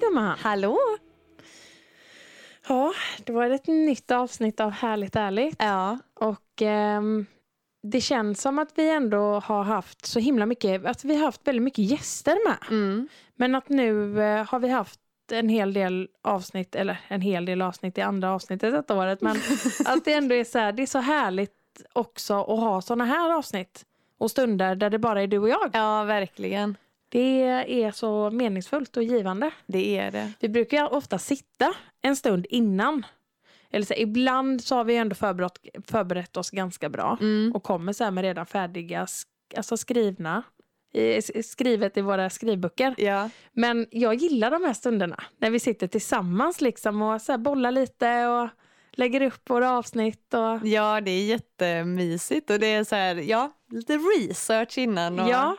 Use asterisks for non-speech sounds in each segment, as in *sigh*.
gumman! Hallå! Ja, det var ett nytt avsnitt av Härligt ärligt. Ja. Och ehm, det känns som att vi ändå har haft så himla mycket, att vi har haft väldigt mycket gäster med. Mm. Men att nu eh, har vi haft en hel del avsnitt, eller en hel del avsnitt i andra avsnittet detta året. Men att det ändå är så här, det är så härligt också att ha sådana här avsnitt. Och stunder där det bara är du och jag. Ja, verkligen. Det är så meningsfullt och givande. Det är det. Vi brukar ju ofta sitta en stund innan. Eller så, här, ibland så har vi ju ändå förberett, förberett oss ganska bra. Mm. Och kommer så här med redan färdiga, sk- alltså skrivna, i, s- skrivet i våra skrivböcker. Ja. Men jag gillar de här stunderna. När vi sitter tillsammans liksom och så här bollar lite och lägger upp våra avsnitt. Och, ja, det är jättemysigt och det är så här, ja, lite research innan. Och ja,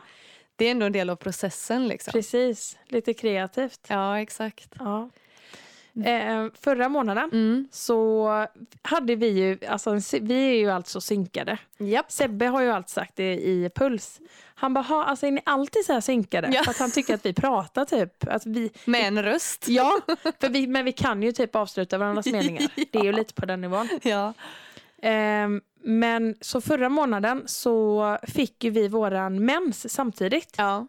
Det är ändå en del av processen liksom. precis. Lite kreativt. Ja, exakt. Ja. Eh, förra månaden Mm. så hade vi ju, alltså, en sy- vi är ju alltså synkade. Japp. Sebbe har ju alltid sagt det i Puls. Han bara, "Ha, alltså är ni alltid så här synkade? Ja. För att han tycker att vi pratar typ. Att vi, Med en röst. ja, *laughs* för vi, men vi kan ju typ avsluta varandras meningar. Det är ju *laughs* Ja. lite på den nivån. *laughs* Ja. Ehm, men så förra månaden så fick ju vi våran mens samtidigt. Ja.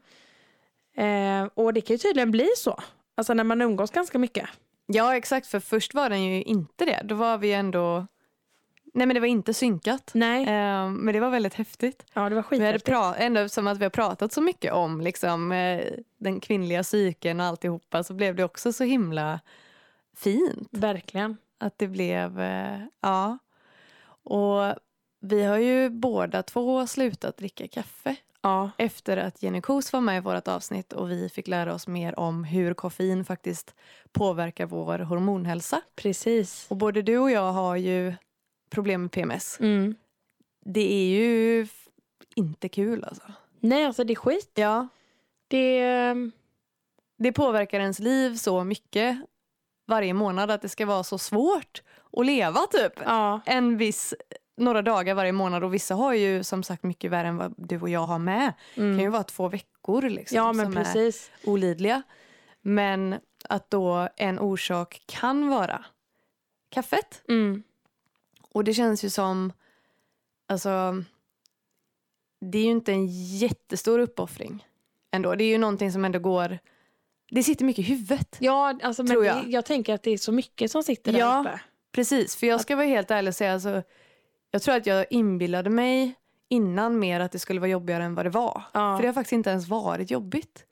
Ehm, och det kan ju tydligen bli så. Alltså när man umgås ganska mycket. ja, exakt. För först var den ju inte det. Då var vi ändå... Nej, men det var inte synkat. Nej, Eh, Men det var väldigt häftigt. ja det var Vi hade skithäftigt. pra- ändå som att vi har pratat så mycket om liksom, eh, den kvinnliga psyken och alltihopa så blev det också så himla fint. Verkligen. Att det blev, eh, ja. Och vi har ju båda två slutat dricka kaffe Ja, efter att Jenny Kos var med i vårt avsnitt och vi fick lära oss mer om hur koffein faktiskt påverkar vår hormonhälsa. precis. Och både du och jag har ju problem med PMS. Mm. Det är ju f- inte kul alltså. Nej, alltså det är skit. Ja, Det ehm, det påverkar ens liv så mycket varje månad att det ska vara så svårt att leva typ. ja, En viss, några dagar varje månad och vissa har ju som sagt mycket värre än vad du och jag har med. Det kan ju mm. vara två veckor liksom, ja, men som precis. är olidliga. Men att då en orsak kan vara kaffet. Mm. Och det känns ju som, alltså, det är ju inte en jättestor uppoffring ändå. Det är ju någonting som ändå går, det sitter mycket i huvudet. Ja, alltså, men Tror jag. jag. Det, jag tänker att det är så mycket som sitter där Ja. uppe. Precis, för jag ska vara helt ärlig och säga alltså, jag tror att jag inbillade mig innan mer att det skulle vara jobbigare än vad det var. Ja. För det har faktiskt inte ens varit jobbigt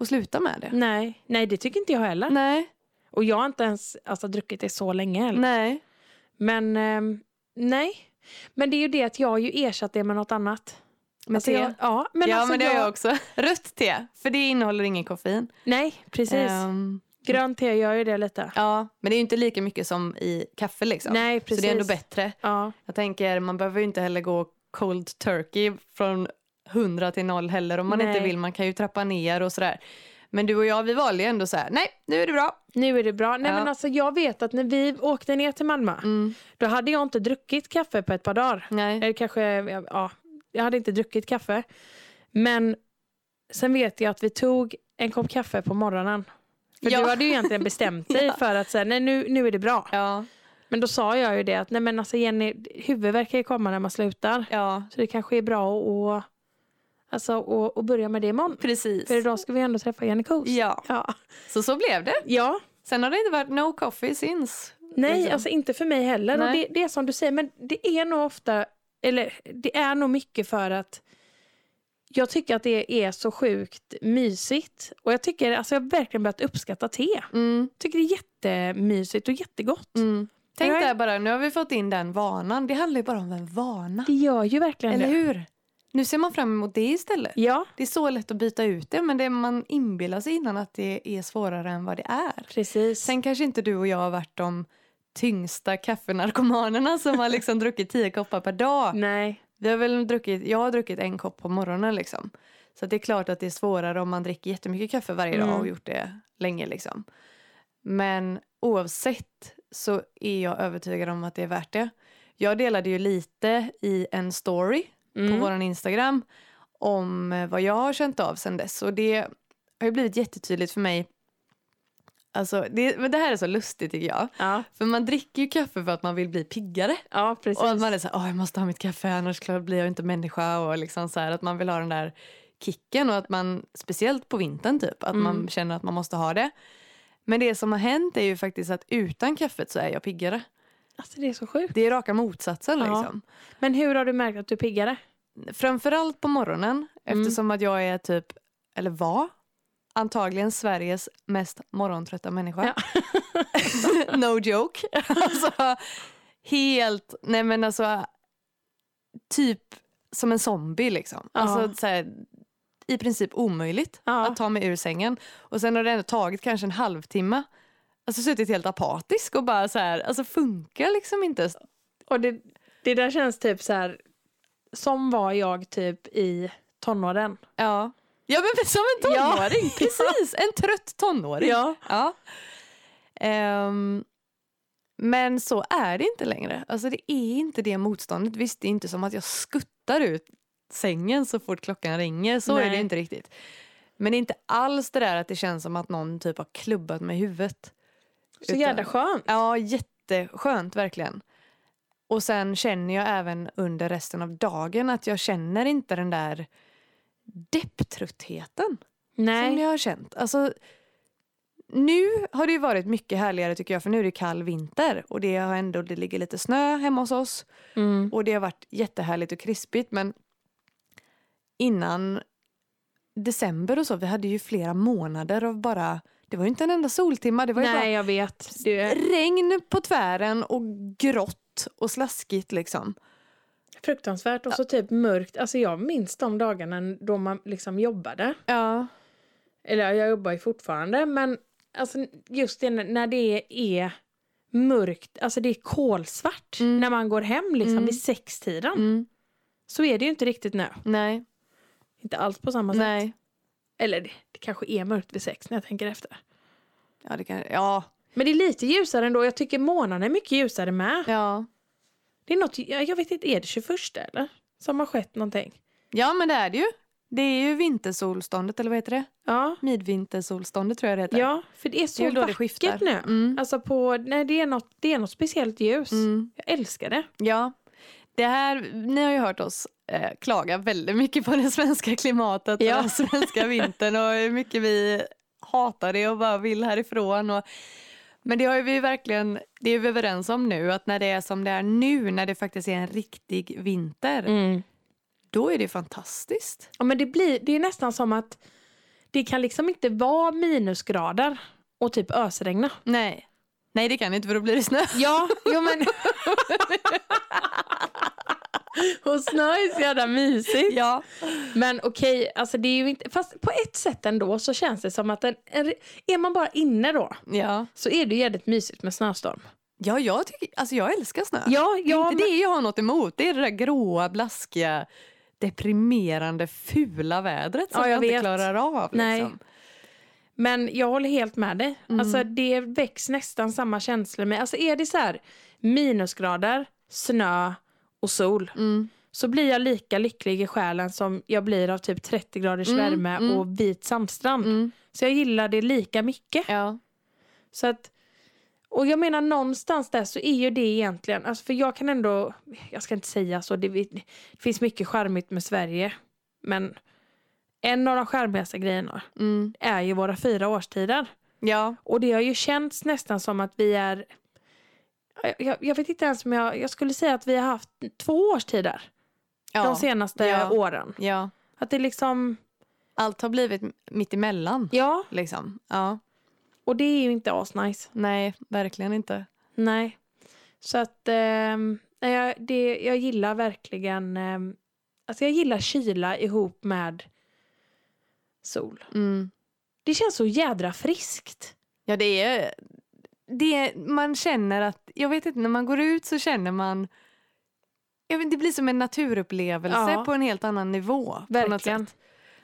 att sluta med det. Nej, nej, det tycker inte jag heller. Nej, Och jag har inte ens alltså, druckit det så länge heller. nej. Men ehm, nej. Men det är ju det att jag har ju ersatt det med något annat. Med alltså, te. Jag, ja, men ja, alltså men det har jag, jag också. *laughs* Rött te, för det innehåller ingen koffein. Nej, precis. Ehm, Grönt te gör ju det lite. ja, men det är ju inte lika mycket som i kaffe liksom. Nej, Så precis. det är ändå bättre. Ja, Jag tänker, man behöver ju inte heller gå cold turkey från 100 till 0 heller om man Nej. inte vill. Man kan ju trappa ner och sådär. Men du och jag, vi valde ju ändå så här, nej, nu är det bra. nu är det bra. Nej, Ja. Mm. men alltså, jag vet att när vi åkte ner till Malmö, då hade jag inte druckit kaffe på ett par dagar. Nej. Eller Eh, kanske, ja, jag hade inte druckit kaffe. Men sen vet jag att vi tog en kopp kaffe på morgonen. För Ja. du hade ju egentligen bestämt dig *laughs* Ja. för att säga, nej nu, nu är det bra. Ja, Men då sa jag ju det att, nej men alltså Jenny, huvudvärk kan ju komma när man slutar. ja. Så det kanske är bra att, att, alltså, att, att börja med det imorgon. Precis. För idag ska vi ändå träffa Jenny Koos. Ja, Ja. så så blev det. ja. Sen har det inte varit no coffee since. Nej, Liksom. alltså inte för mig heller. Och Nej. det, det är som du säger, men det är nog ofta, eller det är nog mycket för att jag tycker att det är så sjukt mysigt. Och jag tycker, alltså jag har verkligen börjat uppskatta te. Jag Mm, tycker det är jättemysigt och jättegott. mm. Tänk Nej. där bara, nu har vi fått in den vanan. Det handlar ju bara om en vana. Det gör ju verkligen Eller det. hur? Nu ser man fram emot det istället. Ja, Det är så lätt att byta ut det men det man inbillar sig innan att det är svårare än vad det är. precis. Sen kanske inte du och jag har varit de tyngsta kaffenarkomanerna *laughs* som har liksom druckit tio koppar per dag. Nej, Vi har väl druckit, jag har druckit en kopp på morgonen liksom. Så att det är klart att det är svårare om man dricker jättemycket kaffe varje dag Mm. och gjort det länge liksom. Men oavsett så är jag övertygad om att det är värt det. Jag delade ju lite i en story Mm. på vår Instagram om eh, vad jag har känt av sen dess. Och det har ju blivit jättetydligt för mig Alltså, det, men det här är så lustigt tycker jag. Ja, För man dricker ju kaffe för att man vill bli piggare. ja precis. Och att man är så här, "Åh, jag måste ha mitt kaffe annars klart blir jag inte människa. Och liksom så här, att man vill ha den där kicken och att man, speciellt på vintern typ, att man Mm. känner att man måste ha det. Men det som har hänt är ju faktiskt att utan kaffet så är jag piggare. Alltså det är så sjukt. Det är raka motsatsen Ja. liksom. Men hur har du märkt att du är piggare? Framförallt på morgonen Mm. eftersom att jag är typ, eller var, antagligen Sveriges mest morgontrötta människa. *laughs* no joke. alltså, helt, nej men alltså typ som en zombie liksom. Ja. Alltså så här, i princip omöjligt Ja. att ta mig ur sängen. Och sen har det ändå tagit kanske en halvtimme. Alltså suttit helt apatisk och bara så här, alltså funkar liksom inte. Och det, det där känns typ så här, som var jag typ i tonåren. Ja. Ja men som en tonåring, precis! En trött tonåring. Ja. Ja. Ehm, men så är det inte längre. Alltså det är inte det motståndet. Visst, det är inte som att jag skuttar ut sängen så fort klockan ringer. Så är det Nej. inte riktigt. Men det är inte alls det där att det känns som att någon typ har klubbat mig i huvudet. Så Utan- jävla skönt. Ja, jätteskönt verkligen. Och sen känner jag även under resten av dagen att jag känner inte den där depptröttheten som Nej. jag har känt. Alltså, nu har det ju varit mycket härligare tycker jag för nu är det kall vinter och det, har ändå, det ligger lite snö hemma hos oss Mm. och det har varit jättehärligt och krispigt men innan december och så, vi hade ju flera månader av bara, det var ju inte en enda soltimma, det var ju bara Nej, jag vet. Du, är- regn på tvären och grått och slaskigt liksom. Fruktansvärt och så typ mörkt. Alltså jag minns de dagarna då man liksom jobbade. Ja. Eller jag jobbar ju fortfarande men alltså just det när det är mörkt, alltså det är kolsvart Mm. när man går hem liksom Mm. vid sextiden. Mm. Så är det ju inte riktigt nu. Nej. Inte alls på samma sätt. Nej. Eller det, det kanske är mörkt vid sex när jag tänker efter. Ja, det kan... Ja. Men det är lite ljusare ändå. Jag tycker månaden är mycket ljusare med. Ja. Det är något, jag, jag vet inte, är det 21 eller? Som har skett någonting. Ja, men det är det ju. Det är ju vintersolståndet, eller vad heter det? Ja, Midvintersolståndet tror jag det heter. ja för det är så det är ju då det skiftar. vackert nu. Mm. Alltså på, nej det är, något, det är något speciellt ljus. Mm. Jag älskar det. Ja. Det här, ni har ju hört oss eh, klaga väldigt mycket på det svenska klimatet och Ja. den svenska vintern och hur mycket vi hatar det och bara vill härifrån. Och, men det har ju vi verkligen, det är vi överens om nu, att när det är som det är nu, när det faktiskt är en riktig vinter, Mm. då är det fantastiskt. Ja, men det, blir, det är nästan som att det kan liksom inte vara minusgrader och typ ösregna. Nej. Nej, det kan det inte för då blir det snö. Ja, jo men... *laughs* och snö är så jävla mysigt. Ja. Men okej, alltså det är ju inte... Fast på ett sätt ändå så känns det som att en, en, är man bara inne då Ja, så är det ju jävligt mysigt med snöstorm. ja jag, tycker, alltså jag älskar snö. Ja, Det är ja, inte det jag har något emot. Det är det där gråa, blaskiga, deprimerande, fula vädret som Ja, jag jag, inte vet. klarar av. Nej. Liksom. Men jag håller helt med dig. Mm. Alltså det väcks nästan samma känslor med. Alltså är det så här minusgrader, snö och sol Mm. så blir jag lika lycklig i själen som jag blir av typ 30 graders Mm, värme mm. och vit sandstrand. Mm. Så jag gillar det lika mycket. Ja. Så att, och jag menar någonstans där så är ju det egentligen, alltså för jag kan ändå, jag ska inte säga så, det, det finns mycket charmigt med Sverige. Men en av de charmigaste grejerna Mm. är ju våra fyra årstider. ja. Och det har ju känts nästan som att vi är... Jag- Jag, jag vet inte ens om jag... Jag skulle säga att vi har haft två årstider de Ja. senaste Ja. åren. ja. Att det liksom... Allt har blivit m- mitt emellan. Ja, Liksom. Ja. och det är ju inte asnice. Nej, verkligen inte. Nej. Så att... ehm, nej, jag, det, jag gillar verkligen... ehm, alltså jag gillar kyla ihop med sol. Mm. Det känns så jädra friskt. Ja, det är... Det är, man känner att, jag vet inte, när man går ut så känner man jag vet, inte, det blir som en naturupplevelse Ja. på en helt annan nivå. på något sätt. Verkligen.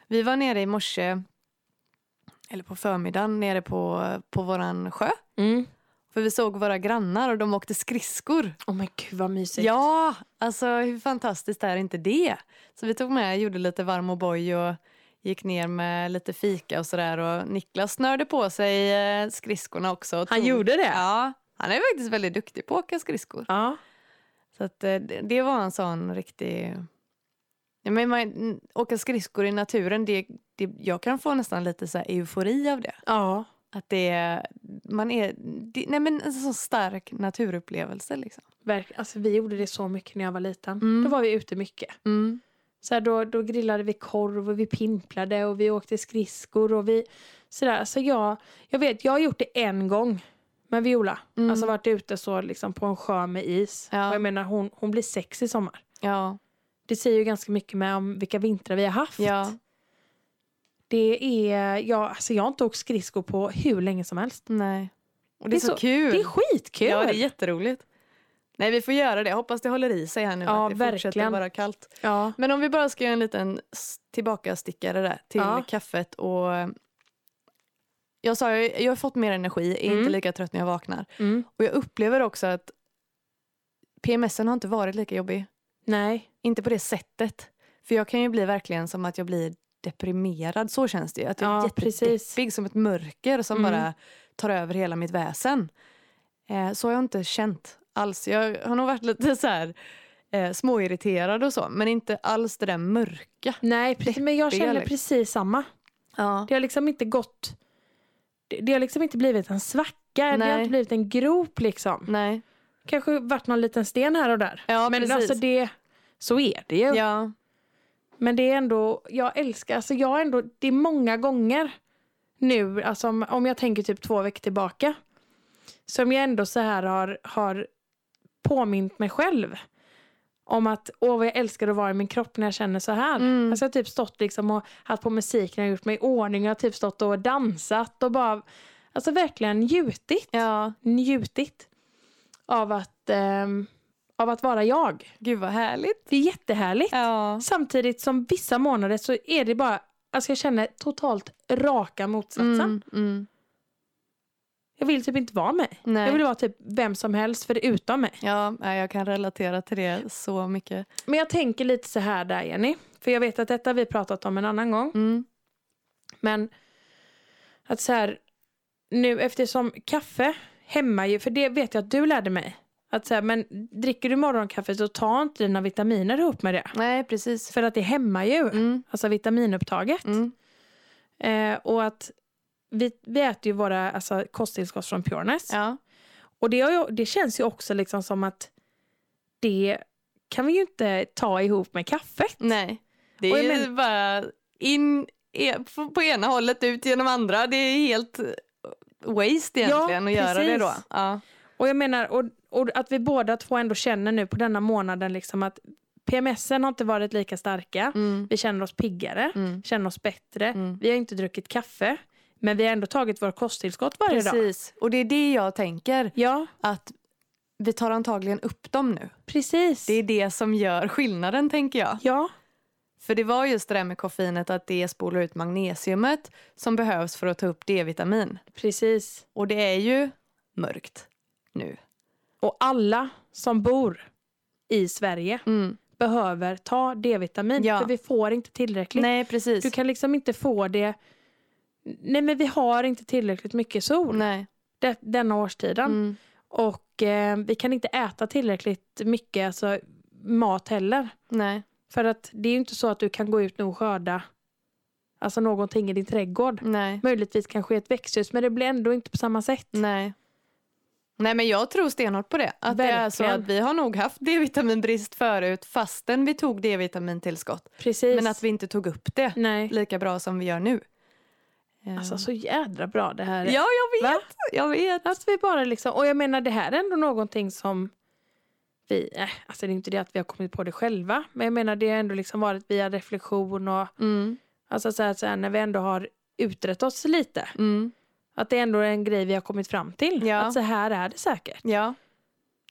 Vi var nere i morse, eller på förmiddagen, nere på, på våran sjö. Mm. För vi såg våra grannar och de åkte skridskor. Oh men gud vad mysigt. Ja, alltså hur fantastiskt är inte det? Så vi tog med, gjorde lite varm O'boy och gick ner med lite fika och sådär. Och Niklas snörde på sig eh, skridskorna också. och Han tog- gjorde det? Ja, han är faktiskt väldigt duktig på att åka skridskor. Ja. Så att, eh, det, det var en sån riktig... Ja, men man, n- åka skridskor i naturen, det, det, jag kan få nästan lite så här eufori av det. ja. Att det är- man är, det, nej men en så stark naturupplevelse liksom. Verk, alltså, vi gjorde det så mycket när jag var liten. Mm. Då var vi ute mycket. Så här, då, då grillade vi korv och vi pimplade och vi åkte skridskor och vi sådär. Så jag, jag vet, jag har gjort det en gång med Viola. Mm. Alltså varit ute så liksom på en sjö med is. Ja. Och jag menar hon, hon blir sex i sommar. Ja, Det säger ju ganska mycket med om vilka vintrar vi har haft. ja, Det är, ja, alltså jag har inte åkt skridskor på hur länge som helst. nej. Och det, Det är är så, kul. Det är skitkul! Ja, det är jätteroligt. Nej, vi får göra det. Hoppas det håller i sig här nu. Ja, att det fortsätter verkligen. vara kallt. ja. Men om vi bara ska göra en liten s- tillbakastickare där till Ja. kaffet och eh, jag sa ju, jag har fått mer energi, är Mm. inte lika trött när jag vaknar. Mm. Och jag upplever också att PMSen har inte varit lika jobbig. Nej. Inte på det sättet. För jag kan ju bli verkligen som att jag blir deprimerad, så känns det ju. Att jag är Ja, precis. jättedeppig, som ett mörker som Mm. bara tar över hela mitt väsen. Eh, så har jag inte känt alls. Jag har nog varit lite så här eh, småirriterad och så, men inte alls det där mörka. Nej, precis, men jag Deppiga, känner liksom. precis samma. Ja. Det har liksom inte gått... Det, det har liksom inte blivit en svacka. Det har Nej. inte blivit en grop liksom. Nej. Kanske varit någon liten sten här och där. Ja, men precis. alltså det... Så är det ju. Ja. Men det är ändå... Jag älskar... Alltså jag har ändå... Det är många gånger nu, alltså om, om jag tänker typ två veckor tillbaka. Som jag ändå så här har, har påmint mig själv. Om att, åh vad jag älskar att vara i min kropp när jag känner så här. Mm. Alltså jag har typ stått liksom och haft på musik när jag gjort mig i ordning. Jag har typ stått och dansat och bara, alltså verkligen njutit. ja. Njutit av att, ehm, av att vara jag. Gud vad härligt. Det är jättehärligt. Ja. Samtidigt som vissa månader så är det bara, alltså jag känner totalt raka motsatsen. Mm, mm. Jag vill typ inte vara mig. Nej. Jag vill vara typ vem som helst förutom mig. Ja, nej, jag kan relatera till det så mycket. Men jag tänker lite så här där Jenny. För jag vet att detta har vi pratat om en annan gång. Mm. Men att så här, nu eftersom kaffe hemma ju, för det vet jag att du lärde mig. Att så här, men dricker du morgonkaffe så ta inte dina vitaminer ihop med det. Nej, precis. För att det hämmar ju, Mm. alltså vitaminupptaget. Mm. Eh, och att vi, vi äter ju våra alltså, kosttillskott från Pureness. Ja. Och det, har ju, det känns ju också liksom som att det kan vi ju inte ta ihop med kaffet. Nej. Det Och jag är men- bara in e- på- på ena hållet ut genom andra. Det är helt eh, waste egentligen att göra det då. precis. Ja. Och jag menar, och, och att vi båda två ändå känner nu på denna månaden liksom att PMSen har inte varit lika starka. Mm. Vi känner oss piggare, Mm. känner oss bättre. Mm. Vi har inte druckit kaffe, men vi har ändå tagit våra kosttillskott varje dag. Precis. Och det är det jag tänker Ja, att vi tar antagligen upp dem nu. precis. Det är det som gör skillnaden tänker jag. Ja, För det var just det där med koffeinet att det spolar ut magnesiumet som behövs för att ta upp D-vitamin. precis. Och det är ju mörkt nu. Och alla som bor i Sverige Mm. behöver ta D-vitamin, Ja. för vi får inte tillräckligt. Nej, precis. Du kan liksom inte få det... Nej, men vi har inte tillräckligt mycket sol Nej. de- denna årstiden. Mm. Och eh, vi kan inte äta tillräckligt mycket alltså, mat heller. Nej. För att det är ju inte så att du kan gå ut nu och skörda alltså någonting i din trädgård. Nej. Möjligtvis kanske i ett växthus, men det blir ändå inte på samma sätt. Nej. Nej, men jag tror stenhårt på det. Att det är så Verkligen. att vi har nog haft D-vitaminbrist förut fastän vi tog D-vitamintillskott. Precis. Men att vi inte tog upp det Nej. lika bra som vi gör nu. Eh, Alltså så jädra bra det här är. ja, jag vet. Va? Jag vet. Att vi bara liksom, och jag menar det här är ändå någonting som vi, eh, alltså det är inte det att vi har kommit på det själva, men jag menar det har ändå liksom varit via reflektion och Mm. alltså så här, så här, när vi ändå har utrett oss lite. Mm. Att det ändå är en grej vi har kommit fram till. Ja. Att så här är det säkert. Ja.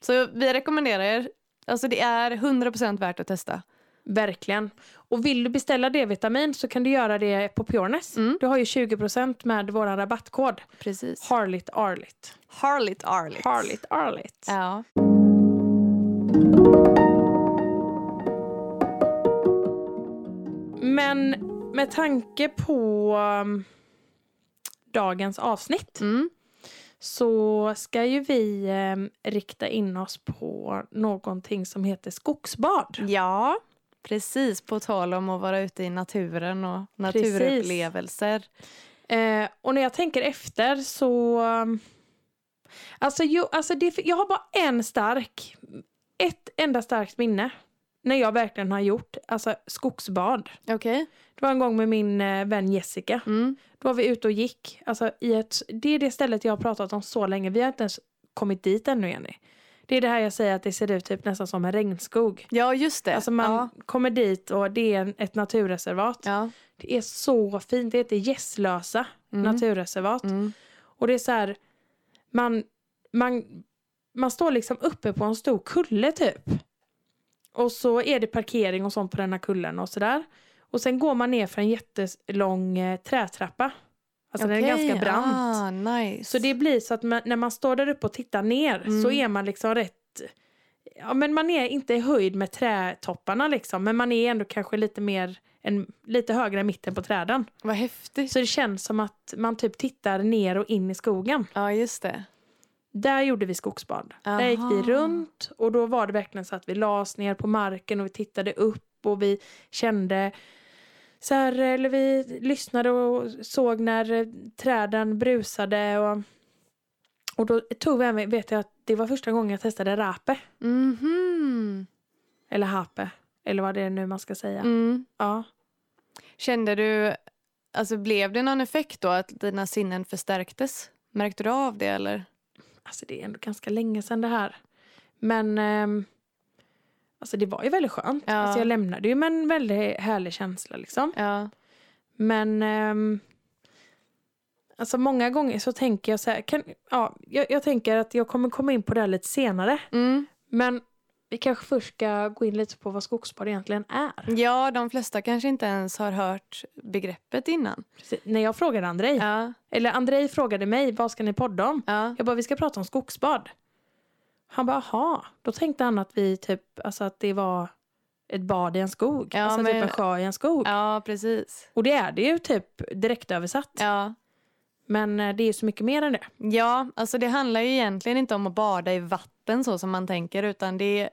Så vi rekommenderar er. Alltså det är 100% värt att testa. Verkligen. Och vill du beställa D-vitamin så kan du göra det på Pureness. Mm. Du har ju 20% med vår rabattkod. Precis. Harligt Arligt. Harligt Arligt. Harligt Arligt. Ja. Men Med tanke på um, dagens avsnitt Mm. så ska ju vi em, rikta in oss på någonting som heter skogsbad. Ja, precis. På tal om att vara ute i naturen och Precis. naturupplevelser. Eh, och när jag tänker efter så... um, Alltså, jo, alltså det, jag har bara en stark, ett enda starkt minne när jag verkligen har gjort alltså, skogsbad. Okej. Det var en gång med min eh, vän Jessica. Mm. Då var vi ute och gick. Alltså, i ett, det är det stället jag har pratat om så länge. Vi har inte ens kommit dit ännu, Jenny. Det är det här jag säger att det ser ut typ nästan som en regnskog. Ja, just det. Alltså man ja. kommer dit och det är en, ett naturreservat. Ja. Det är så fint. Det heter Gässlösa Mm. naturreservat. Mm. Och det är så här, man, man, man står liksom uppe på en stor kulle typ. Och så är det parkering och sånt på den här kullen och sådär. Och sen går man ner för en jättelång eh, trätrappa. Alltså den är Okej, ganska brant. Ah, nice. Så det blir så att man, när man står där uppe och tittar ner Mm. så är man liksom rätt Ja men man är inte i höjd med trätopparna liksom men man är ändå kanske lite mer en, lite högre än mitten på träden. Vad häftigt. Så det känns som att man typ tittar ner och in i skogen. Ja, just det. Där gjorde vi skogsbad. Där gick Aha. vi runt och då var det verkligen så att vi la oss ner på marken och vi tittade upp och vi kände så här, eller vi lyssnade och såg när eh, träden brusade och, och då tog vi även, vet jag att det var första gången jag testade rape Mhm. eller hape eller vad det är nu man ska säga. Mm. Ja. Kände du, alltså blev det någon effekt då att dina sinnen förstärktes? Märkte du av det eller? Alltså det är ändå ganska länge sedan det här. Men ehm, alltså det var ju väldigt skönt. Ja. Alltså jag lämnade ju med en väldigt härlig känsla liksom. Ja. Men ehm, alltså många gånger så tänker jag så här, kan, ja, jag, jag tänker att jag kommer komma in på det här lite senare. Mm. Men vi kanske först ska gå in lite på vad skogsbad egentligen är. Ja, de flesta kanske inte ens har hört begreppet innan. Precis, när jag frågade Andrej, Ja. eller Andrej frågade mig, vad ska ni podda om? Ja. Jag bara, vi ska prata om skogsbad. Han bara, aha. Då tänkte han att vi typ, alltså att det var ett bad i en skog. Ja, alltså typ men- en sjö i en skog. ja, precis. Och det är det ju typ direktöversatt. Ja. Men eh, det är ju så mycket mer än det. ja, alltså det handlar ju egentligen inte om att bada i vatten så som man tänker utan det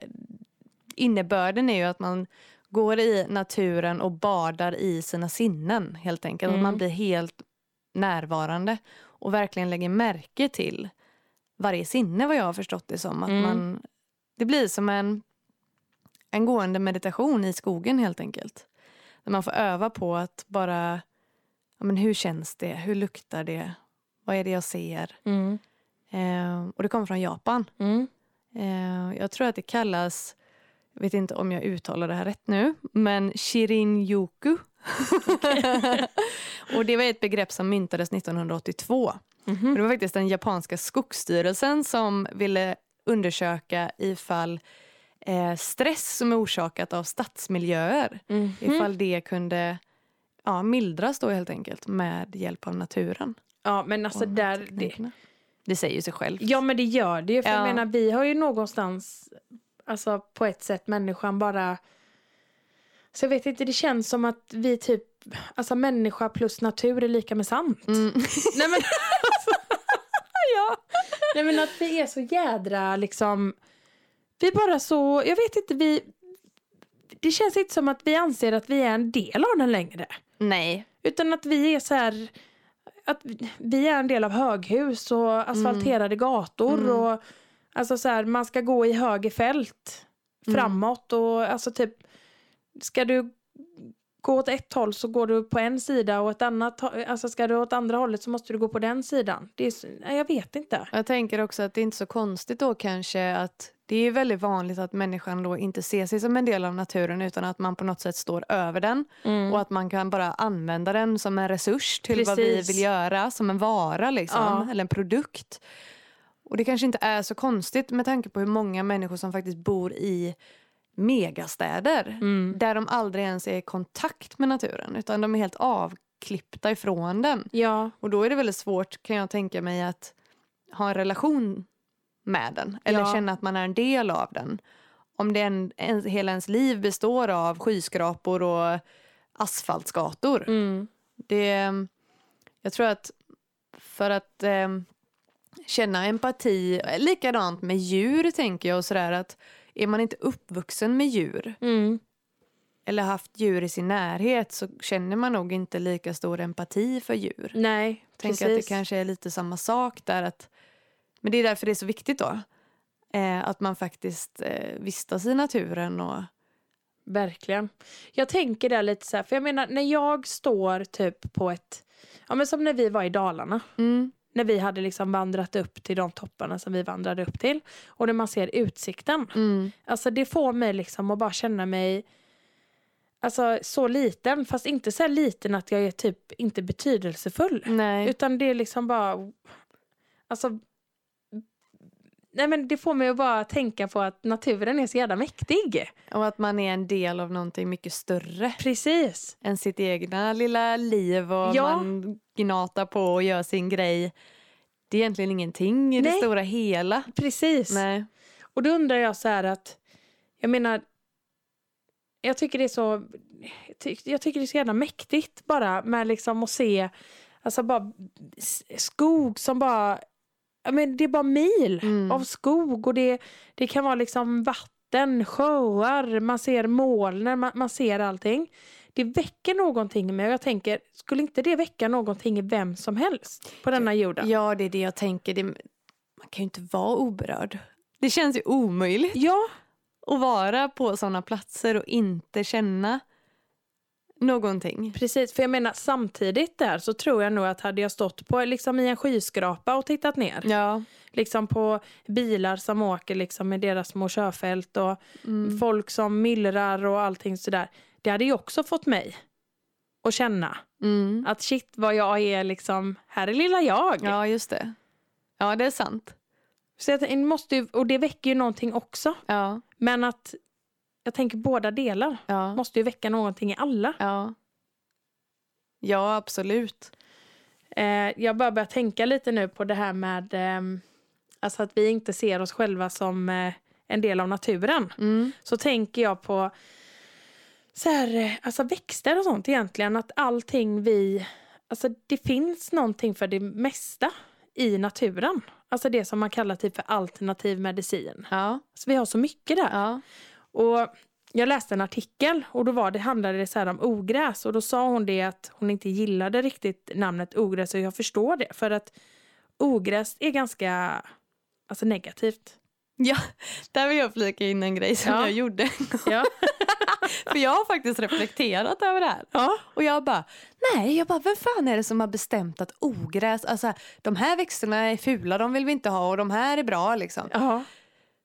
innebörden är ju att man går i naturen och badar i sina sinnen helt enkelt. Mm. Och man blir helt närvarande och verkligen lägger märke till varje sinne vad jag har förstått det som. Att Mm. man, det blir som en, en gående meditation i skogen helt enkelt. Där man får öva på att bara, ja, men hur känns det? Hur luktar det? Vad är det jag ser? Mm. Eh, och det kommer från Japan. Eh, jag tror att det kallas, jag vet inte om jag uttalar det här rätt nu, men shirin-yoku. *laughs* och det var ett begrepp som myntades 1982. Och Mhm. det var faktiskt den japanska skogsstyrelsen som ville undersöka ifall eh, stress som är orsakat av stadsmiljöer, ifall det kunde ja, mildras då helt enkelt med hjälp av naturen. Ja, men alltså och där... Det, teknikerna. det säger ju sig självt. ja, men det gör det ju. För jag Ja. menar, vi har ju någonstans, alltså på ett sätt, människan bara... Så jag vet inte, det känns som att vi typ... Alltså människa plus natur är lika med sant. *laughs* Mm. Nej men ja. Nej men att vi är så jädra liksom. Vi bara så, jag vet inte vi. Det känns inte som att vi anser att vi är en del av den längre. Nej. Utan att vi är så här. Att vi är en del av höghus och asfalterade gator Mm. och alltså så här, man ska gå i höger fält Mm. framåt och alltså typ ska du gå åt ett håll så går du på en sida och ett annat hå- alltså ska du åt andra hållet så måste du gå på den sidan. Det är, så- nej, jag vet inte. Jag tänker också att det är inte så konstigt då kanske att det är väldigt vanligt att människan då inte ser sig som en del av naturen utan att man på något sätt står över den Mm. och att man kan bara använda den som en resurs till vad vi Precis. vill göra, som en vara liksom, Ja. eller en produkt. Och det kanske inte är så konstigt med tanke på hur många människor som faktiskt bor i megastäder Mm. där de aldrig ens är i kontakt med naturen utan de är helt avklippta ifrån den. Ja, Och då är det väldigt svårt kan jag tänka mig att ha en relation med den eller Ja. känna att man är en del av den. Om det en, en, hela ens liv består av skyskrapor och asfaltsgator. Mm. Det, jag tror att för att eh, känna empati, likadant med djur tänker jag och sådär att är man inte uppvuxen med djur Mm. eller haft djur i sin närhet så känner man nog inte lika stor empati för djur. Nej, Tänker att precis. det kanske är lite samma sak där att, men det är därför det är så viktigt då. Eh, att man faktiskt eh, vistas i naturen och Verkligen. Jag tänker där lite så här, för jag menar när jag står typ på ett, ja men som när vi var i Dalarna, mm, när vi hade liksom vandrat upp till de topparna som vi vandrade upp till och när man ser utsikten. mm, Alltså det får mig liksom att bara känna mig alltså, så liten, fast inte så här liten att jag är typ inte betydelsefull. nej. Utan det är liksom bara, alltså, nej men det får mig att bara tänka på att naturen är så jävla mäktig. Och att man är en del av någonting mycket större Precis. än sitt egna lilla liv och Ja. man gnatar på och gör sin grej. Det är egentligen ingenting i det Nej. stora hela. Precis. Nej. Och då undrar jag så här att, jag menar, jag tycker det är så, jag tyck- jag tycker det är så jävla mäktigt bara med liksom att se, alltså bara s- skog som bara, ja men det är bara mil Mm. av skog och det, det kan vara liksom vatten, sjöar, man ser molnen, man, man ser allting. Det väcker någonting med och jag tänker, skulle inte det väcka någonting i vem som helst på denna jorden? Ja, det är det jag tänker. Det, man kan ju inte vara oberörd. Det känns ju omöjligt Ja, att vara på sådana platser och inte känna någonting. Precis, för jag menar samtidigt där så tror jag nog att hade jag stått på, liksom, i en skyskrapa och tittat ner, Ja. liksom på bilar som åker liksom, med deras små körfält och Mm. folk som myllrar och allting sådär, det hade ju också fått mig att känna Mm. att shit vad jag är liksom, här är lilla jag. Ja, just det. Ja, det är sant. Så jag, tänk- måste ju, och det väcker ju någonting också, Ja, men att jag tänker båda delar ja, måste ju väcka någonting i alla. ja. Ja, absolut. Eh, jag bara börjar tänka lite nu på det här med ehm, alltså att vi inte ser oss själva som eh, en del av naturen. Mm. Så tänker jag på så här, eh, alltså växter och sånt egentligen. Att allting vi... Alltså det finns någonting för det mesta i naturen. Alltså det som man kallar typ för alternativ medicin. Ja, Så vi har så mycket där. ja. Och jag läste en artikel och då var det, handlade det så här om ogräs och då sa hon det att hon inte gillade riktigt namnet ogräs och jag förstår det för att ogräs är ganska alltså negativt. Ja, där vill jag flika in en grej som Ja. jag gjorde. Ja. För jag har faktiskt reflekterat över det här. ja. Och jag bara, nej, jag bara, vem fan är det som har bestämt att ogräs, alltså de här växterna är fula, de vill vi inte ha och de här är bra liksom. Ja.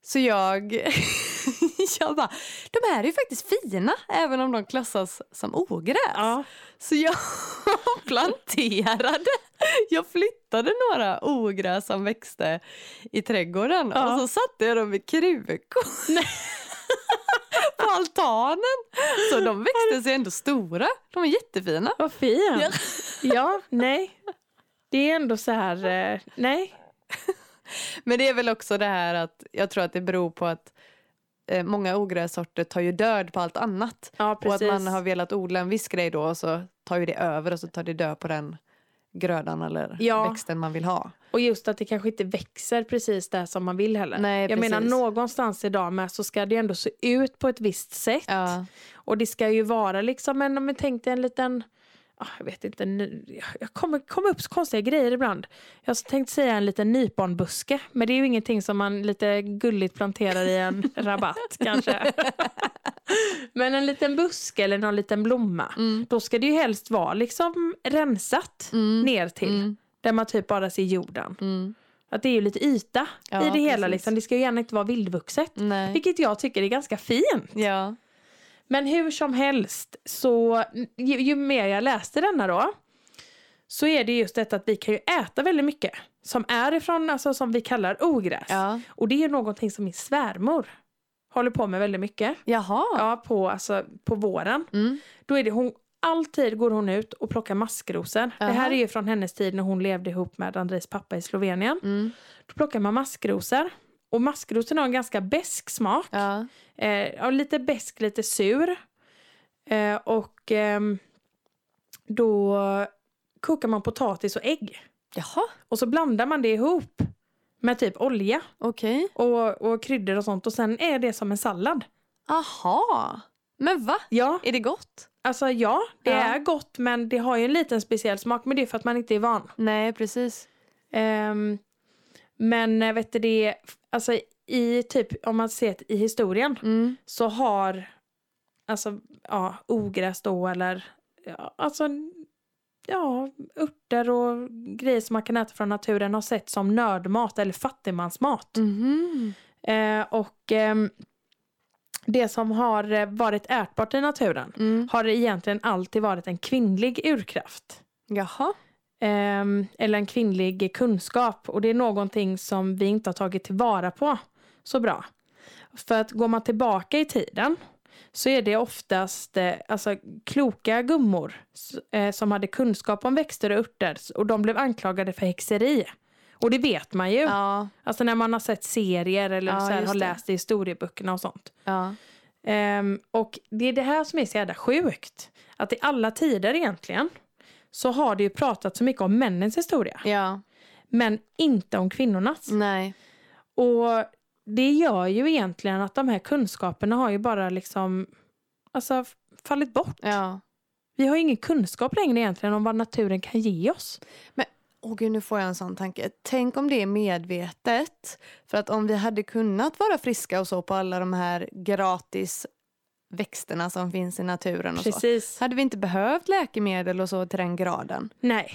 Så jag, *laughs* jag bara, de här är ju faktiskt fina även om de klassas som ogräs. Ja. Så jag *laughs* planterade, jag flyttade några ogräs som växte i trädgården Ja. och så satte jag dem i krukor. *laughs* på altanen. Så de växte sig ändå stora. De är jättefina. Vad fint. Ja. Ja. nej. Det är ändå så här, eh, nej. Men det är väl också det här att jag tror att det beror på att eh, många ogrässorter tar ju död på allt annat. Ja, precis. Och att man har velat odla en viss grej då och så tar ju det över och så tar det död på den grödan eller Ja. växten man vill ha. Och just att det kanske inte växer precis där som man vill heller. Nej, jag precis. menar någonstans idag med så ska det ändå se ut på ett visst sätt. Ja. Och det ska ju vara liksom en, om jag tänkte en liten, ah, jag vet inte, nu- jag kommer kommer upp så konstiga grejer ibland. Jag tänkte säga en liten nyponbuske, men det är ju ingenting som man lite gulligt planterar i *laughs* en rabatt kanske. *laughs* men en liten buske eller någon liten blomma, Mm. då ska det ju helst vara liksom rensat Mm. ner till. Mm. Där man typ bara ser jorden. Mm. Att det är ju lite yta Ja, i det hela. precis. Liksom. Det ska ju gärna inte vara vildvuxet. Nej. Vilket jag tycker är ganska fint. Ja. Men hur som helst, så ju, ju mer jag läste denna då så är det just detta att vi kan ju äta väldigt mycket som är ifrån, alltså som vi kallar ogräs. ja. Och det är ju någonting som min svärmor håller på med väldigt mycket. Jaha. Ja, på, alltså, på våren. Mm. Då är det hon, alltid går hon ut och plockar maskrosor. Det här Jaha. är ju från hennes tid när hon levde ihop med Andrejs pappa i Slovenien. Mm. Då plockar man maskrosor. Och maskrosorna har en ganska besk smak. Ja. Eh, ja, lite besk, lite sur. Eh, och ehm, då kokar man potatis och ägg. Jaha, Och så blandar man det ihop med typ olja okej. och, och kryddor och sånt. Och sen är det som en sallad. Aha. Men va? Ja, Är det gott? alltså ja, det Ja. är gott men det har ju en liten speciell smak. Men det är för att man inte är van. Nej, precis. Ehm, men eh, vet du det, alltså i typ, om man ser det i historien Mm. så har, alltså ja, ogräs då eller, ja, alltså, ja, örter och grejer som man kan äta från naturen har sett som nördmat eller fattigmansmat. Mhm. Eh, och ehm, det som har eh, varit ätbart i naturen Mm. har egentligen alltid varit en kvinnlig urkraft. Jaha. Ehm, eller en kvinnlig kunskap och det är någonting som vi inte har tagit tillvara på så bra. För att går man tillbaka i tiden så är det oftast eh, alltså, kloka gummor s- eh, som hade kunskap om växter och örter s- och de blev anklagade för häxeri. Och det vet man ju. Ja. Alltså när man har sett serier eller Ja, så här, just har det. läst i historieböckerna och sånt. ja. Ehm, och det är det här som är så jävla sjukt. Att i alla tider egentligen så har det ju pratat så mycket om männens historia. Ja. Men inte om kvinnornas. Nej. Och det gör ju egentligen att de här kunskaperna har ju bara liksom alltså, f- fallit bort. Ja. Vi har ju ingen kunskap längre egentligen om vad naturen kan ge oss. Åh gud, nu får jag en sån tanke. Tänk om det är medvetet. För att om vi hade kunnat vara friska och så på alla de här gratis växterna som finns i naturen och Mm, så. Precis. Hade vi inte behövt läkemedel och så till den graden. Nej.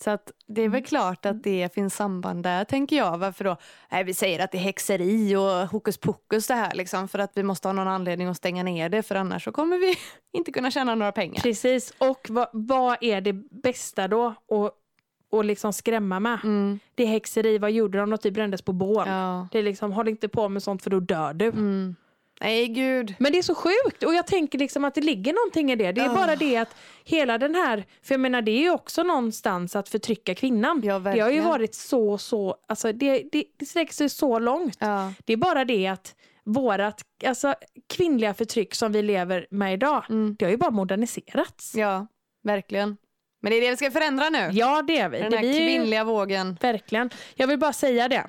Så att det är väl Mm. klart att det finns samband där, tänker jag. Varför då? Nej, vi säger att det är häxeri och hokus pokus det här liksom, för att vi måste ha någon anledning att stänga ner det för annars så kommer vi *laughs* inte kunna tjäna några pengar. Precis. Och vad, vad är det bästa då att, att liksom skrämma med? Mm. Det är häxeri, vad gjorde de? De typ brändes på bål. Ja. Det är liksom, håll inte på med sånt för då dör du. Mm. Nej, gud. Men det är så sjukt och jag tänker liksom att det ligger någonting i det. Det är Ah. bara det att hela den här, för jag menar det är ju också någonstans att förtrycka kvinnan. Ja, det har ju verkligen. varit så, så, alltså det, det, det sträcker sig så långt. Ja. Det är bara det att vårat alltså, kvinnliga förtryck som vi lever med idag, Mm. det har ju bara moderniserats. Ja, ja, verkligen. Men det är det vi ska förändra nu. det är vi. Den det här vi är ju- kvinnliga vågen. Verkligen. Jag vill bara säga det.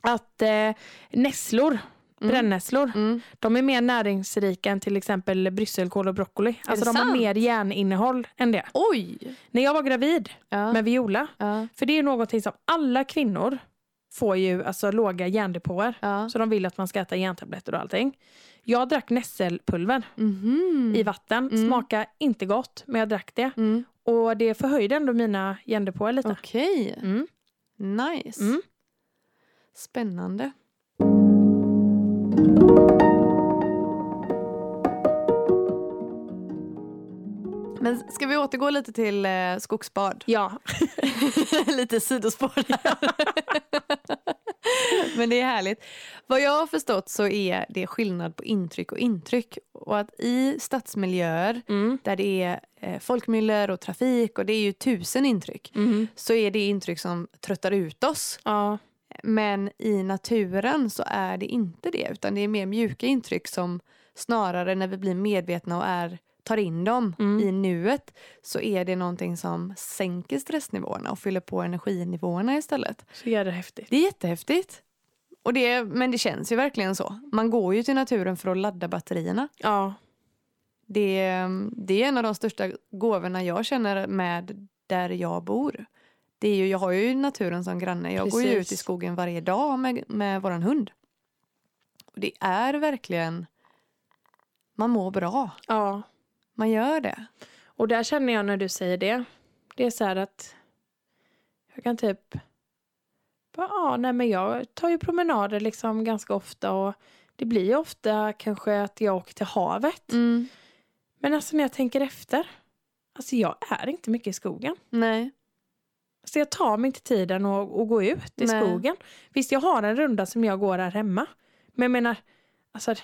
Att eh, nässlor, brännässlor, Mm. de är mer näringsrika än till exempel brysselkål och broccoli. Alltså det de har sant? mer järninnehåll än det. Oj! När jag var gravid Ja. med Viola, ja. för det är ju någonting som alla kvinnor får ju alltså låga järndepåer. ja. Så de vill att man ska äta järntabletter och allting. Jag drack nässelpulver Mhm. i vatten. Mm. Smakade inte gott, men jag drack det. Mm. Och det förhöjde ändå mina järndepåer lite. Okej. Mm. Nice. Mm. Spännande. Men ska vi återgå lite till eh, skogsbad? Ja, *laughs* lite sidospår där. *laughs* Men det är härligt. Vad jag har förstått så är det skillnad på intryck och intryck. Och att i stadsmiljöer mm. där det är eh, folkmyller och trafik och det är ju tusen intryck Mm. så är det intryck som tröttar ut oss. ja. Men i naturen så är det inte det, utan det är mer mjuka intryck som snarare när vi blir medvetna och är, tar in dem Mm. i nuet så är det någonting som sänker stressnivåerna och fyller på energinivåerna istället. Så jävla häftigt. Det är jättehäftigt. Och det, men det känns ju verkligen så. Man går ju till naturen för att ladda batterierna. Ja. Det, det är en av de största gåvorna jag känner med där jag bor. Det är ju, jag har ju naturen som granne. Jag går ju Precis. ut i skogen varje dag med, med vår hund. Och det är verkligen... Man mår bra. ja. Man gör det. Och där känner jag när du säger det. Det är så här att jag kan typ bara, ja, nej men jag tar ju promenader liksom ganska ofta och det blir ju ofta kanske att jag åker till havet. Mm. Men alltså när jag tänker efter, alltså jag är inte mycket i skogen. Nej. Alltså jag tar mig inte tiden att, att gå ut i Nej. skogen. Visst, jag har en runda som jag går här hemma. Men jag menar, alltså,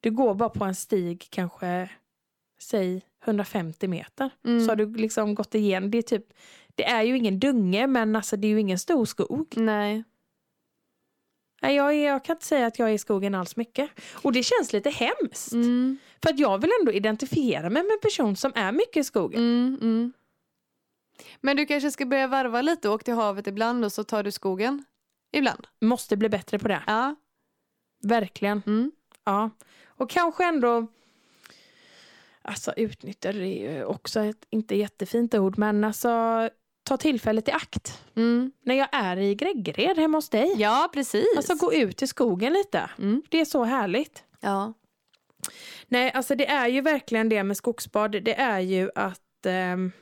du går bara på en stig kanske, säg 150 meter. Mm. Så har du liksom gått igen. Det är, typ, det är ju ingen dunge, men alltså, det är ju ingen stor skog. Nej. Nej, Jag, är, jag kan inte säga att jag är i skogen alls mycket. Och det känns lite hemskt. Mm, För att jag vill ändå identifiera mig med en person som är mycket i skogen. mm, mm. Men du kanske ska börja varva lite och åka till havet ibland och så tar du skogen ibland. Måste bli bättre på det. Ja. Verkligen. Mm. Ja. Och kanske ändå... Alltså utnyttja det är ju också ett inte jättefint ord. Men alltså ta tillfället i akt. Mm. När jag är i Greggered hemma hos dig. Ja, precis. Alltså gå ut i skogen lite. Mm. Det är så härligt. Ja. Nej, alltså det är ju verkligen det med skogsbad. Det är ju att ehm,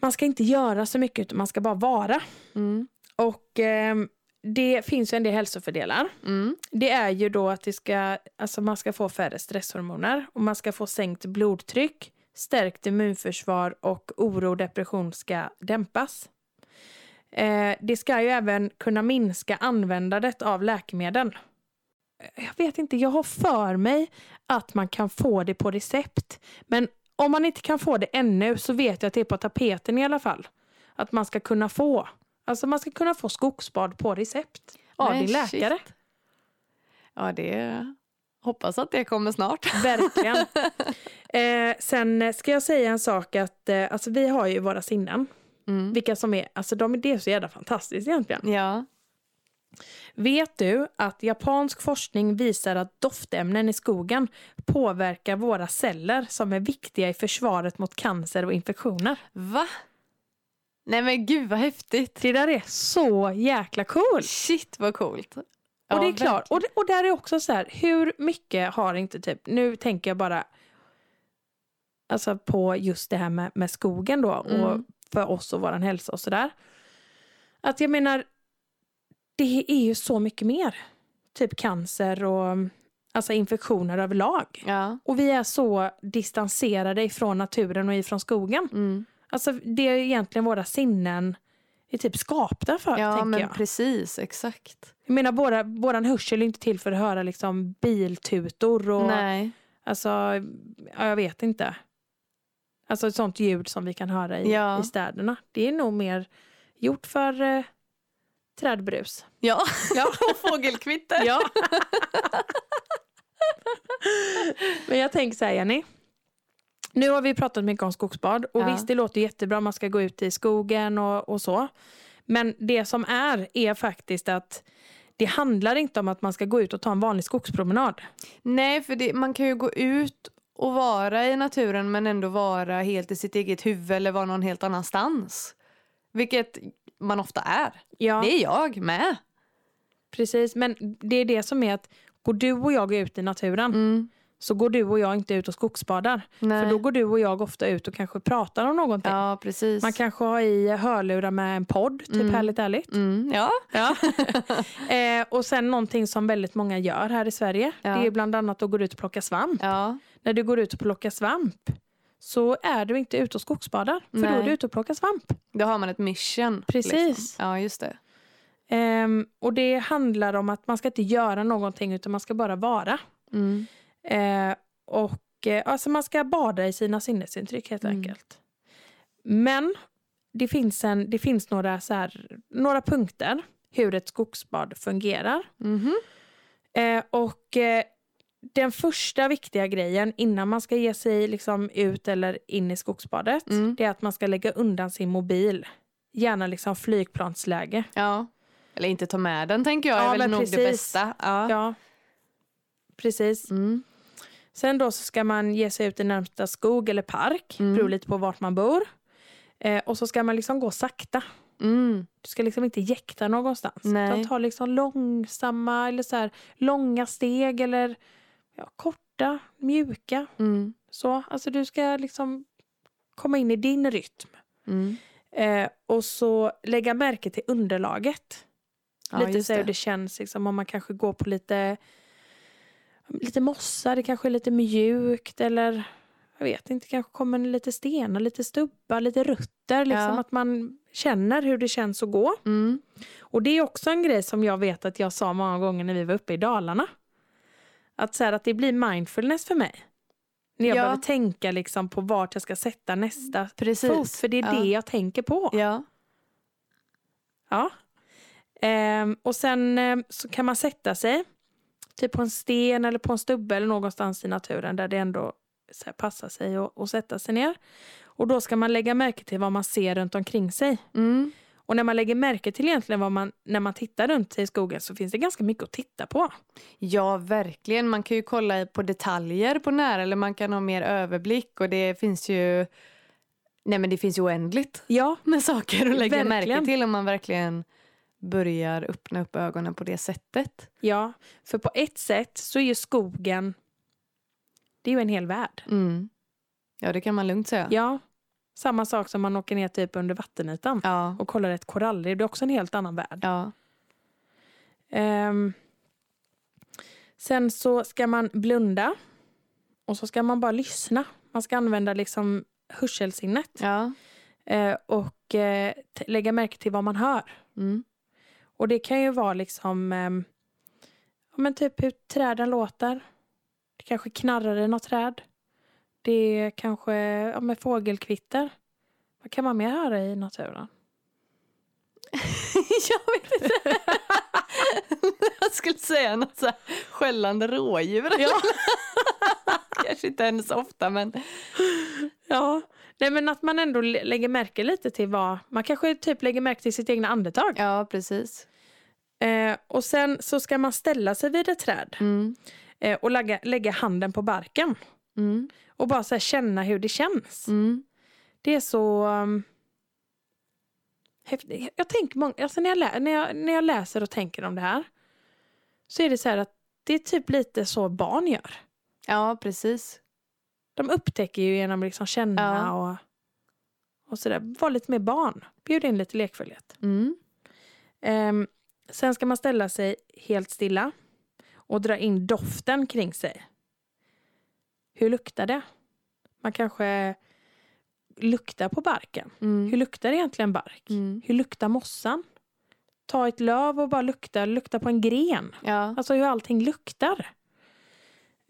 man ska inte göra så mycket utan man ska bara vara. Mm. Och ehm, det finns ju en del hälsofördelar. Mm. Det är ju då att det ska, alltså man ska få färre stresshormoner och man ska få sänkt blodtryck, stärkt immunförsvar och oro och depression ska dämpas. Eh, det ska ju även kunna minska användandet av läkemedel. Eh, Jag vet inte, jag har för mig att man kan få det på recept. Men om man inte kan få det ännu så vet jag att det är på tapeten i alla fall. Att man ska kunna få, alltså man ska kunna få skogsbad på recept av Nej, din läkare. shit. Ja, det... Hoppas att det kommer snart. Verkligen. Eh, sen eh, ska jag säga en sak att eh, alltså, vi har ju våra sinnen. Mm. Vilka som är, alltså de, det är så jävla fantastiskt egentligen. *laughs* Ja. Vet du att japansk forskning visar att doftämnen i skogen påverkar våra celler som är viktiga i försvaret mot cancer och infektioner? Va? Nej men gud vad häftigt. Det där är så jäkla coolt! Shit vad coolt. Och det är klart. Och, det- och där är också så här, hur mycket har inte typ, nu tänker jag bara alltså på just det här med, med skogen då och Mm. för oss och våran hälsa och sådär. Att jag menar, det är ju så mycket mer. Typ cancer och alltså infektioner överlag. Ja. Och vi är så distanserade ifrån naturen och ifrån skogen. Mm. Alltså det är egentligen våra sinnen är typ skapta för, Ja tänker men jag. precis, exakt. Jag menar, våra, våran hörsel är inte till för att höra liksom biltutor och Nej. alltså, ja, jag vet inte. Alltså ett sånt ljud som vi kan höra i, Ja. i städerna. Det är nog mer gjort för eh, trädbrus. Ja, *laughs* ja. och fågelkvitter. Ja. Men jag tänker så här Jenny. Nu har vi pratat mycket om skogsbad och Ja. visst det låter jättebra man ska gå ut i skogen och, och så. Men det som är är faktiskt att det handlar inte om att man ska gå ut och ta en vanlig skogspromenad. Nej för det, man kan ju gå ut och vara i naturen men ändå vara helt i sitt eget huvud eller vara någon helt annanstans. Vilket man ofta är. Ja, Det är jag med. precis. Men det är det som är att går du och jag ut i naturen Mm. så går du och jag inte ut och skogsbadar. Nej. För då går du och jag ofta ut och kanske pratar om någonting. Ja precis. Man kanske har i hörlurar med en podd, typ Mm. härligt ärligt. Mm, ja. Ja. eh, och sen någonting som väldigt många gör här i Sverige. Ja. Det är bland annat att gå ut och plocka svamp. ja. När du går ut och plockar svamp så är du inte ute och skogsbadar. För då är Nej. du ute och plockar svamp. Då har man ett mission. Precis. Liksom. Ja just det. Ehm, och det handlar om att man ska inte göra någonting utan man ska bara vara. Mm. Eh, och eh, alltså man ska bada i sina sinnesintryck helt Mm. enkelt. Men det finns, en, det finns några, så här, några punkter hur ett skogsbad fungerar. Mhm. Eh, och eh, den första viktiga grejen innan man ska ge sig liksom ut eller in i skogsbadet Mm. det är att man ska lägga undan sin mobil. Gärna liksom flygplansläge. Ja. Eller inte ta med den tänker jag Ja, är väl men nog det precis. bästa. Ja. Ja, precis. Mm. Sen då så ska man ge sig ut i närmsta skog eller park. Mm. Beror lite på vart man bor. Eh, och så ska man liksom gå sakta. Mm. Du ska liksom inte jäkta någonstans. Nej. Utan ta liksom långsamma eller så här, långa steg eller ja, korta, mjuka. Mm. Så, alltså du ska liksom komma in i din rytm. Mm. Eh, och så lägga märke till underlaget. Ja, lite just så hur det. det känns, liksom, om man kanske går på lite, lite mossa, det kanske är lite mjukt eller jag vet inte, kanske kommer lite stenar, lite stubbar, lite rötter. Liksom, Ja. Att man känner hur det känns att gå. Mm. Och det är också en grej som jag vet att jag sa många gånger när vi var uppe i Dalarna. Att, så här, att det blir mindfulness för mig. När jag Ja. behöver tänka liksom på vart jag ska sätta nästa Precis. fot. För det är ja. det jag tänker på. Ja. Ja. Ehm, och sen ehm, så kan man sätta sig typ på en sten eller på en stubbe eller någonstans i naturen där det ändå så här, passar sig att- att sätta sig ner. Och då ska man lägga märke till vad man ser runt omkring sig. Mm. Och när man lägger märke till egentligen vad man, när man tittar runt sig i skogen så finns det ganska mycket att titta på. Ja, verkligen. Man kan ju kolla i- på detaljer på nära eller man kan ha mer överblick och det finns ju Nej men det finns ju oändligt Ja, med saker att lägga märke Verkligen. till om man verkligen börjar öppna upp ögonen på det sättet. ja. För på ett sätt så är ju skogen, det är ju en hel värld. Mm. Ja, det kan man lugnt säga. Ja, samma sak som man åker ner typ under vattenytan Ja. och kollar ett korallrev, det är också en helt annan värld. ja. Ehm, sen så ska man blunda och så ska man bara lyssna. Man ska använda liksom hörselsinnet ja. eh, och eh, t- lägga märke till vad man hör. *laughs* Mm. Och det kan ju vara liksom ehm, ja, men typ hur träden låter. Det kanske knarrar i något träd. Det är kanske ja, men fågelkvitter. Vad kan man mer höra i naturen? jag vet inte. *laughs* jag skulle säga något så här skällande rådjur. Ja. *laughs* Kanske inte händer så ofta men Ja, nej men att man ändå lä- lägger märke lite till vad... Man kanske typ lägger märke till sitt egna andetag. ja precis. Eh, och sen så ska man ställa sig vid ett träd Mm. eh, och lägga, lägga handen på barken. Mm. Och bara så här känna hur det känns. Mm. Det är så... Um, häftigt. Jag- Jag tänker många, alltså när, jag lä, när, jag, när jag läser och tänker om det här så är det så här att det är typ lite så barn gör. Ja precis. De upptäcker ju genom liksom känna Ja. och, och sådär. Var lite mer barn. Bjud in lite lekfullhet. Mm. Ehm, sen ska man ställa sig helt stilla och dra in doften kring sig. Hur luktar det? Man kanske luktar på barken. Mm. Hur luktar egentligen bark? Mm. Hur luktar mossan? Ta ett löv och bara lukta, lukta på en gren. Ja. Alltså hur allting luktar.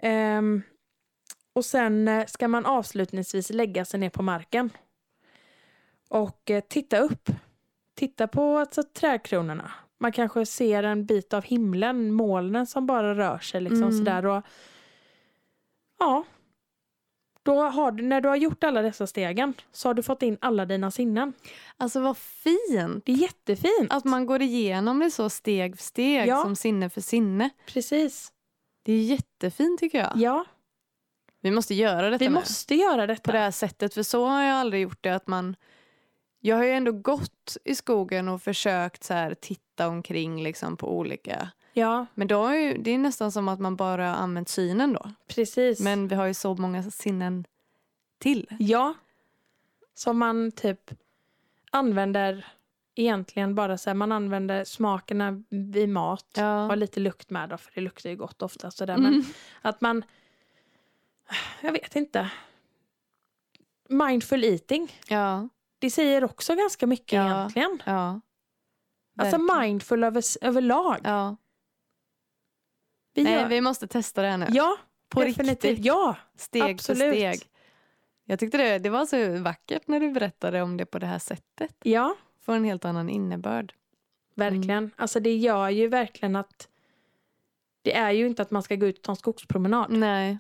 Ehm, och sen eh, ska man avslutningsvis lägga sig ner på marken. Och eh, titta upp. Titta på alltså, trädkronorna. Man kanske ser en bit av himlen, molnen som bara rör sig liksom Mm. sådär. Och, ja. Då har du, när du har gjort alla dessa stegen så har du fått in alla dina sinnen. Alltså vad fint Det är jättefint. att man går igenom det så steg för steg Ja. som sinne för sinne. Precis. Det är jättefint tycker jag. Ja, Vi måste göra detta vi nu. måste göra detta. på det här sättet. För så har jag aldrig gjort det. att man... Jag har ju ändå gått i skogen och försökt så här, titta omkring liksom, på olika... Ja, Men då har ju, det är nästan som att man bara har använt synen då. precis. Men vi har ju så många sinnen till. Ja. Som man typ använder egentligen bara så här, man använder smakerna vid mat. Har Ja. lite lukt med då, för det luktar ju gott ofta sådär. Men Mm. att man, jag vet inte. Mindful eating, Ja. det säger också ganska mycket Ja. egentligen. ja. Alltså Verkligen. mindful över, överlag. Ja. Vi Nej, gör, vi måste testa det här nu. ja, på definitivt. riktigt. Ja, Steg för absolut. steg. Jag tyckte det, det var så vackert när du berättade om det på det här sättet. ja. Får en helt annan innebörd. Verkligen. Alltså det gör ju verkligen att det är ju inte att man ska gå ut och ta en skogspromenad. Nej.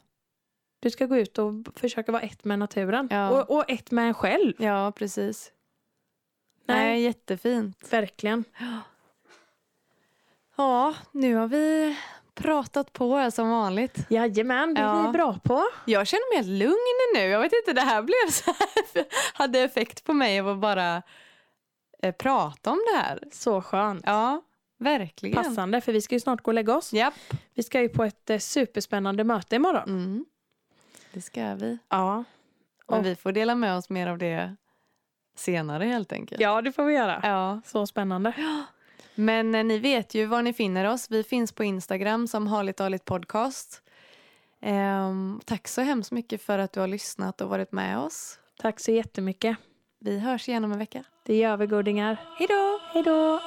Du ska gå ut och b- försöka vara ett med naturen. Ja. Och, och ett med en själv. Ja, precis. Nej. Nej jättefint. Verkligen. Ja, nu har vi pratat på här som vanligt. Jajamän, det är Ja. vi bra på. Jag känner mig helt lugn nu. Jag vet inte, det här blev så här, hade effekt på mig av att bara eh, prata om det här. Så skönt. Ja, verkligen. Passande, för vi ska ju snart gå och lägga oss. Japp. Vi ska ju på ett eh, superspännande möte imorgon. Mm. Det ska vi. Ja. Men Och- vi får dela med oss mer av det senare helt enkelt. ja, det får vi göra. Ja. Så spännande. Men eh, ni vet ju var ni finner oss. Vi finns på Instagram som Harligt Harligt Podcast. Ehm, tack så hemskt mycket för att du har lyssnat och varit med oss. Tack så jättemycket. Vi hörs igen om en vecka. Det gör vi, godingar. Hej då! Hej då!